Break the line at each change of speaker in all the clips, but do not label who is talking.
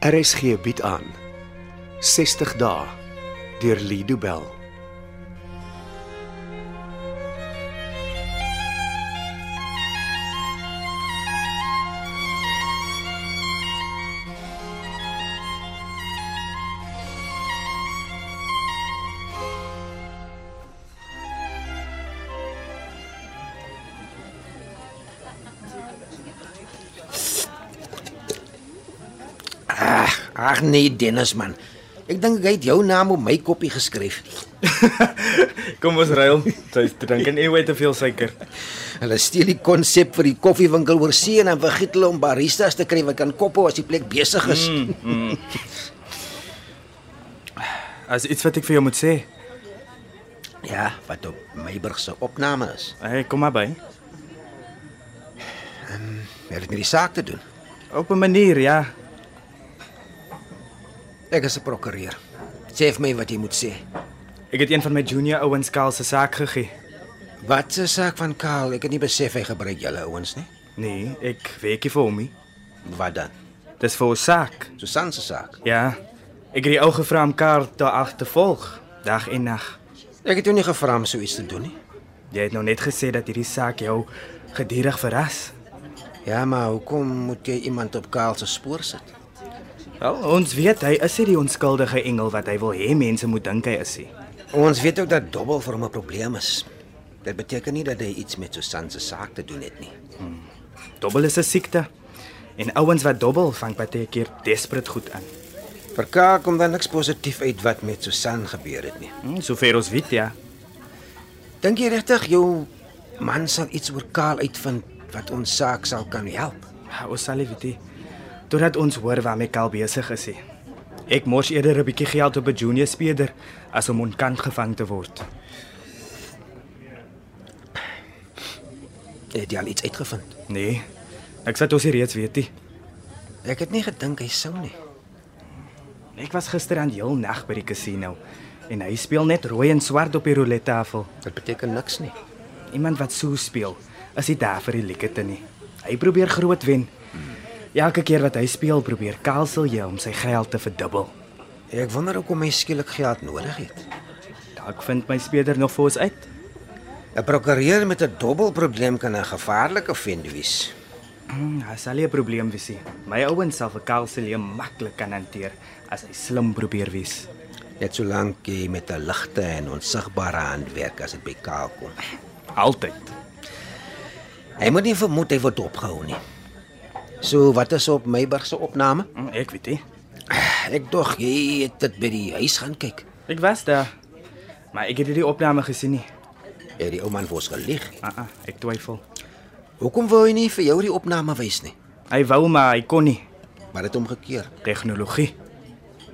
RSG bied aan 60 dae deur Lido Bell.
Ag nee, Dennis man. Ek dink hy het jou naam op my koppie geskryf.
Kom ons ruil. Sy drink en anyway te veel suiker.
Hulle steel die konsep vir die koffiewinkel oor see en dan vergiet hulle om baristas te kry wat kan kophou as die plek besig is. Mm.
As iets wat ek vir jou moet sê.
Ja, wat op Meiburg se opname is.
Hey, kom maar by.
Dit het met die saak te doen.
Op 'n manier, ja.
Ek is 'n prokureur. Sê vir my wat jy moet sê.
Ek het een van my junior ouens Karl se saak gegee.
Wat se saak van Karl? Ek het nie besef hy gebruik julle ouens nie.
Nee, ek werk hier vir hom. nie.
Wat dan?
Dis vir 'n saak.
Susan se saak.
Ja. Ek het die ou gevra om Karl daar agter te volg, dag en nag.
Ek het jou nie gevra om so iets te doen nie.
Jy het nou net gesê dat hierdie saak jou gedurig verras.
Ja, maar hoekom moet jy iemand op Karl se spoor sit?
Wel, ons weet hy is nie die onskuldige engel wat hy wil hê mense moet dink hy is nie.
Ons weet ook dat dobbel vir hom 'n probleem is. Dit beteken nie dat hy iets met Susan se saak te doen het nie.
Dobbel is 'n siekte. En ouens wat dobbel vang baie keer desperaat goed aan.
Vir Karl kom dan niks positief uit wat met Susan gebeur het nie.
Hm, sover ons weet, ja.
Dink jy regtig jou man sal iets oor Karl uitvind wat ons saak sal kan help?
Ons sal nie weet nie. Totdat ons hoor waarmee Kal besig is. He. Ek mors eerder 'n bietjie geld op 'n junior speler as om onkant gevang te word.
Het jy al iets uitgevind?
Nee. Ek sê ons hier reeds weet nie.
Ek het nie gedink hy sou nie.
Ek was gisterand heel nag by die casino en hy speel net rooi en swart op die roulette tafel.
Dit beteken niks nie.
Iemand wat so speel, is nie daar vir die lekkerste nie. Hy probeer groot wen. Elke keer wat hy speel, probeer Kalsel jy om sy geld te verdubbel.
Ek wonder hoekom hy skielik geld nodig het.
Dalk vind my speler nog vir ons uit.
'n Prokureur met 'n dobbelprobleem kan 'n gevaarlike vent wees.
Hmm, hy sal nie 'n probleem wees nie. My ouens sal vir Kalselie maklik kan hanteer as hy slim probeer wees.
Net solank jy met 'n ligte en onsigbare hand werk as dit by Kaal kom.
Altyd.
Hy moet nie vermoed hy word opgehou nie. So wat is op Meiburg se opname?
Hmm, ek weet nie.
Ek dog jy het dit by die huis gaan kyk.
Ek was daar, maar ek het nie die opname gesien nie.
Het die ou man vir ons gelieg.
Ah, ah, ek twyfel.
Hoekom wou hy nie vir jou die opname wys nie?
Hy wou maar hy kon nie.
Maar dit omgekeer.
Tegnologie.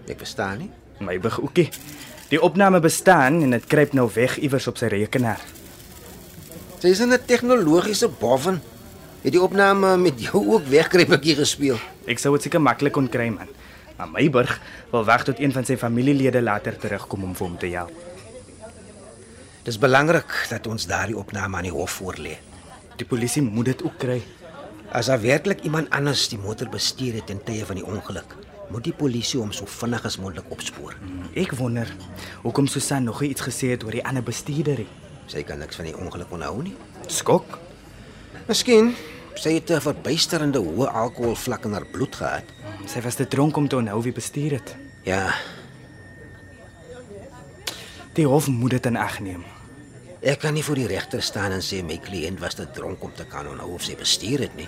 Ek verstaan nie.
My begookie. Die opname bestaan en dit kruip nou weg iewers op sy rekenaar.
Sy is in 'n tegnologiese boffin. Het die opname met jou ook wegkruipertjie gespeel?
Ek sou dit seker maklik kon kry man. Maar Meiburg wil weg tot een van sy familielede later terugkom om vir hom te help.
Dis belangrik dat ons daardie opname aan die hof voorlê.
Die polisie moet dit ook kry.
As daar werklik iemand anders die motor bestuur het ten tye van die ongeluk, moet die polisie hom so vinnig as moontlik opspoor.
Ek wonder hoekom Susan nog nie iets gesê het oor die ander bestuurderie.
Sy kan niks van die ongeluk onthou nie.
Skok.
Miskien sy het 'n verbuisterende hoë alkoholvlak in haar bloed gehad.
Sy was te dronk om te onthou wie bestuur het.
Ja,
Die hof moet dit in ag neem.
ek kan nie voor die regter staan en sê my kliënt was te dronk om te kan onthou of sy bestuur het nie.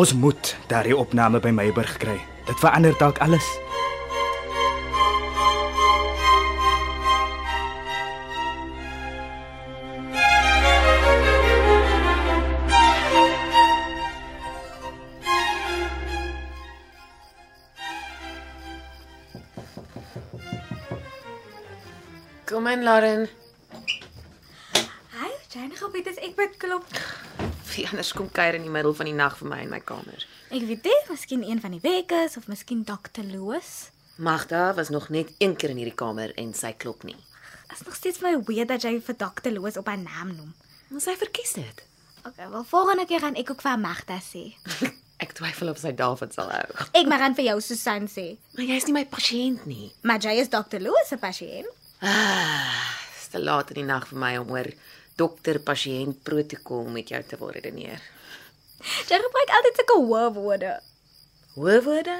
Ons moet daardie opname by Meiburg kry. Dit verander dalk alles.
Kom in, Lauren.
Hy het jy nog op dit as ek by klop.
Wie anders kom kuier in die middel van die nag vir my in my kamer?
Ek weet nie, miskien een van die wekers of miskien Dr. Loos.
Magda was nog net een keer in hierdie kamer en sy klop nie.
Is nog steeds my weird dat jy vir Dr. Loos op haar naam noem.
Maar sy verkies dit.
Okay, wel volgende keer gaan ek ook vir Magda sê.
Ek twyfel of sy daarvan sal hou.
Ek mag aan vir jou Susan sê,
Maar jy's nie my pasiënt nie.
maar jy is dokter Louis se pasiënt.
Dis Ah, te laat in die nag vir my om oor dokter-pasiënt protokol met jou te wil redeneer.
Jy gebruik altyd sulke hoë woorde.
Hoë woorde?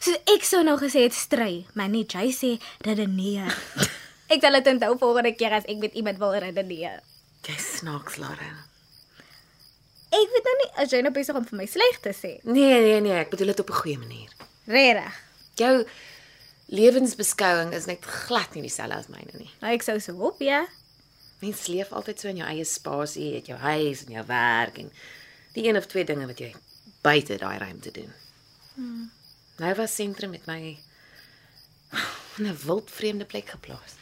So ek sou nou gesê het stry, maar nie jy sê redeneer. ek sal dit onthou volgende keer as ek met iemand wil redeneer.
Jy snaaks, Lara.
Ek weet nou nie as jy nou besig om vir my sleg te sê.
Nee, nee, nee, ek bedoel dit op 'n goeie manier.
Regtig.
Jou lewensbeskouing is net glad nie dieselfde as myne nie.
Nou ek sou so hoop, ja.
Mens leef altyd so in jou eie spasie, het jou huis en jou werk en die een of twee dinge wat jy buite daai ruimte doen. Hmm. Nou was sentrum met my in 'n wildvreemde plek geplaas.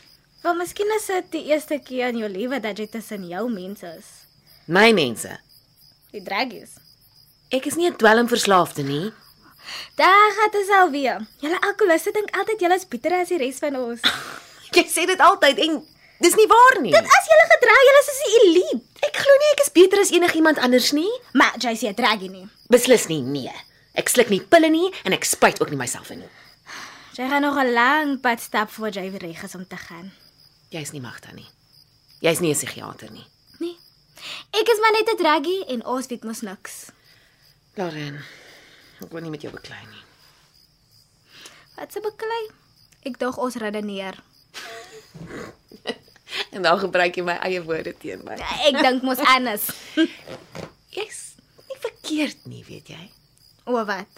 Want miskien is dit die eerste keer in jou lewe dat jy tussen jou mense is.
My mense,
Die draggies.
ek is nie 'n dwelmverslaafde nie.
Daar gaan dit al weer. Julle alkoholiste dink altyd julle is beter as die res van ons.
Jy sê dit altyd en dis nie waar nie.
As julle gedra, julle is soos die elite.
Ek glo nie ek is beter as enigiemand anders nie.
Maar jy sê 'n draggie nie.
Beslis nie, nee. Ek sluk nie pille nie en ek spyt ook nie myself in nie.
Jy gaan nog 'n lang pad stap voor jy weer reg is om te gaan.
Jy's nie magta nie. Jy's nie 'n psigiater nie.
Nee. Ek is maar net 'n draggie en ons weet mos niks.
Lauren, ek wil nie met jou beklei nie.
Wat se beklei? Ek dog ons redeneer.
En dan gebruik jy my eie woorde teen my.
Ek dink mos anders.
Ja. Jy's nie verkeerd nie, weet jy?
O wat?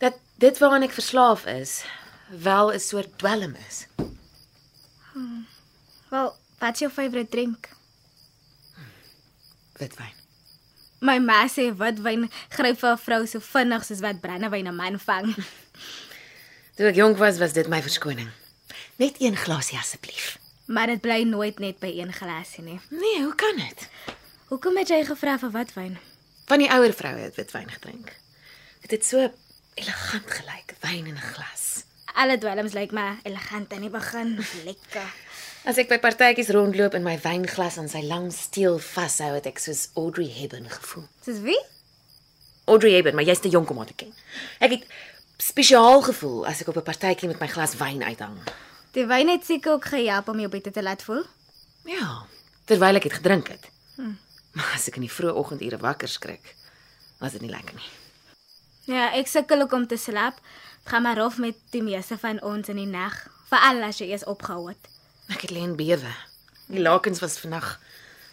Dat dit waaraan ek verslaaf is, wel 'n soort dwelm is.
Wel, wat is jou favourite drink?
Witwyn.
My ma sê witwyn gryp vir 'n vrou so vinnig soos wat brandewyn 'n man vang.
Toe ek jonk was, was dit my verskoning. Net een glasie asseblief.
Maar dit bly nooit net by een glasie nie.
Nee, hoe kan dit?
Hoekom het jy gevra vir witwyn?
Van die ouer vroue het witwyn gedrink. Dit het so elegant gelyk, wyn in 'n glas.
Alle dwelms lyk maar elegant aan die begin, lekker.
As ek by partytjies rondloop en my wynglas aan sy lang steel vashou, het ek soos Audrey Hepburn gevoel.
Soos wie?
Audrey Hepburn, maar jy's te jonk om haar te ken. Ek het spesiaal gevoel as ek op 'n partytjie met my glas wyn uithang.
Die wyn het seker ook gehelp om jou beter te laat voel.
Ja, Hm. terwyl ek dit gedrink het. Maar as ek in die vroeë oggendure wakker skrik, was dit nie lekker nie.
Ja, ek sukkel ook om te slaap. Dit gaan maar rof met die meeste van ons in die nag, veral as jy eers opgehou het.
Ek het leen bewe. Die lakens was vannag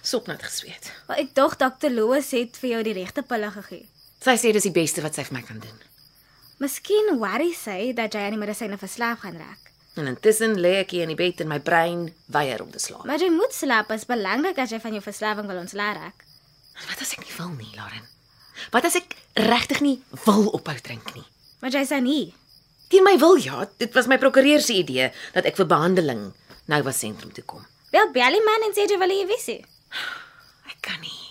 sopnat gesweet.
Maar ek dog dokter Loos het vir jou die regte pille gegee.
Sy sê dis die beste wat sy vir my kan doen.
Miskien worry sy dat jy aan die medisyne verslaaf gaan raak.
En intussen lê ek hier in die bed en my brein weier om te slaap.
Maar jy moet slaap is belangrik as jy van jou verslawing wil ontslae raak.
Maar wat as ek nie wil nie, Lauren? Wat as ek regtig nie wil ophou drink nie?
Maar jy sê nie.
Teen my wil ja, dit was my prokureur se idee dat ek vir behandeling nou was sentrum toe kom.
Wel bel die man en sê jy wil hier wees. nie.
Ek kan nie.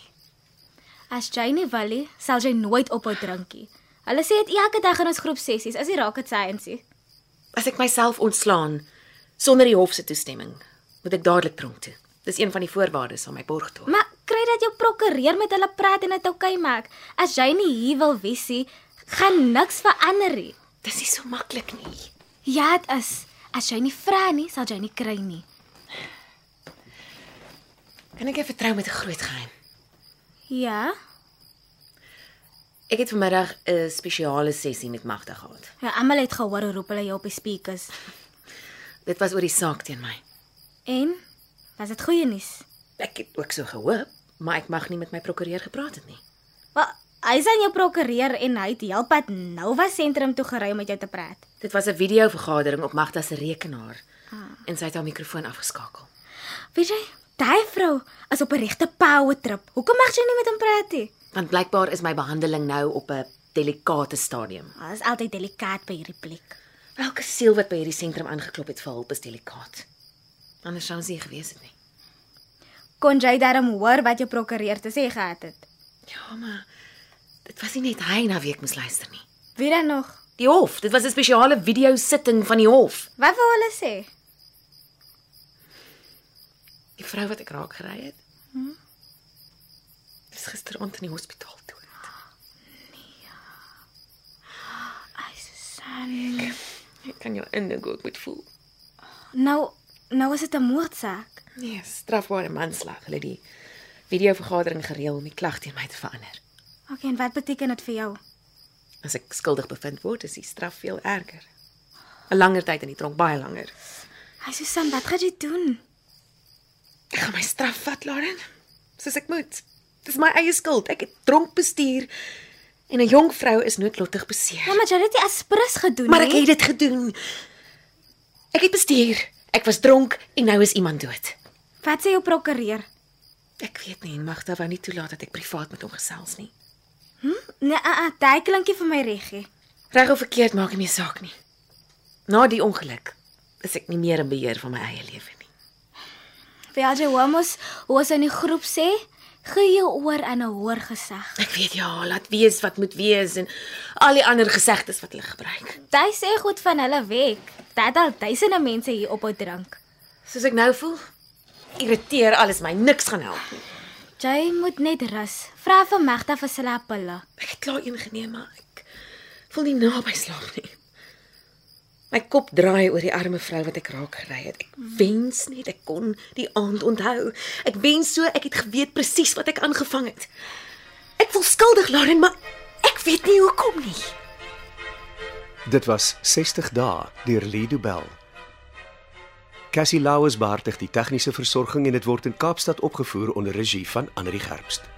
As jy nie wil nie, sal jy nooit ophou drinkie. Hulle sê dit elke dag in ons groepsessies, is nie raak dit science nie.
As ek myself ontslaan sonder die hof se toestemming, moet ek dadelik tronk toe. Dis een van die voorwaardes aan my borgtog.
Maar kry dat jou prokureur met hulle praat en dit oukei maak. As jy nie hier wil wees nie, gaan niks verander nie.
Dis nie so maklik nie.
Ja, dit is. As jy nie vra nie, sal jy nie kry nie.
Kan ek jou vertrou met 'n groot geheim?
Ja.
Ek het vanmiddag 'n spesiale sessie met Magda gehad.
Ja, almal het gehoor hoe roep hulle jou op die speakers.
Dit was oor die saak teen my.
En was dit goeie nuus?
Ek het ook so gehoop, maar ek mag nie met my prokureur gepraat het nie.
Wel, hy is aan jou prokureur en hy het heelpad Nova sentrum toe gery om met jou te praat.
Dit was 'n video-vergadering op Magda se rekenaar en sy het haar mikrofoon afgeskakel.
Weet jy, daai vrou is op 'n regte power trip. Hoekom mag jy nie met hom praat nie?
Want blykbaar is my behandeling nou op 'n delikate stadium.
Dit is altyd delikaat by hierdie plek.
Elke siel wat by hierdie sentrum aangeklop het vir hulp is delikaat. Anders sou ons nie gewees het nie.
Kon jy daarom hoor wat jou prokureur te sê gehad het?
Ja, maar dit was nie net hy na wie ek moes luister nie.
Wie dan nog?
Die hof, dit was 'n spesiale video-sitting van die hof.
Wat wou hulle sê?
Die vrou wat ek raak Hm? gery het. Dis gisteraand in die hospitaal dood. Ek kan jou indig ook moet voel.
Nou, nou is dit 'n moordsaak.
Nee, strafbare manslag. Hulle het die videovergadering gereël om die klag teen my te verander.
Okay, en wat beteken dit vir jou?
As ek skuldig bevind word, is die straf veel erger. 'n Langer tyd in die tronk, baie langer.
Hy Susan, wat gaan jy doen?
Ek gaan my straf vat, Lauren, soos ek moet. Dis my eie skuld. Ek het dronk bestuur en 'n jong vrou is noodlottig beseer.
Ja, nee. maar jy het dit as prins gedoen,
Maar ek
nie?
het dit gedoen. Ek het bestuur. Ek was dronk en nou is iemand dood.
Wat sê jou prokureur?
Ek weet nie, Magda wou nie toelaat dat ek privaat met hom gesels nie.
Nee, uh, uh, daai klinkie vir my reggie.
Reg of verkeerd maak nie meer saak nie. Na die ongeluk is ek nie meer in beheer van my eie lewe nie.
Vir jy homo's, hoe ons in die groep sê, gee jou oor aan 'n hoër gesag.
Ek weet ja, laat wees wat moet wees en al die ander gesegdes wat hulle gebruik.
Jy sê goed van hulle weg. Dat al duisende mense hier op hou drink.
Soos ek nou voel, irriteer alles my, niks gaan help nie.
Jy moet net rus. Vra vir Magda vir sy appelle.
Ek het klaar een geneem, maar ek voel nie naby slaap nie. My kop draai oor die arme vrou wat ek raak gery het. Ek wens net ek kon die aand onthou. Ek wens so ek het geweet presies wat ek aangevang het. Ek voel skuldig, Lauren, maar ek weet nie hoekom nie.
Dit was 60 dae deur Lido Bell. Cassie Lauers beheer die tegniese versorging en dit word in Kaapstad opgevoer onder regie van Anri Gerbst.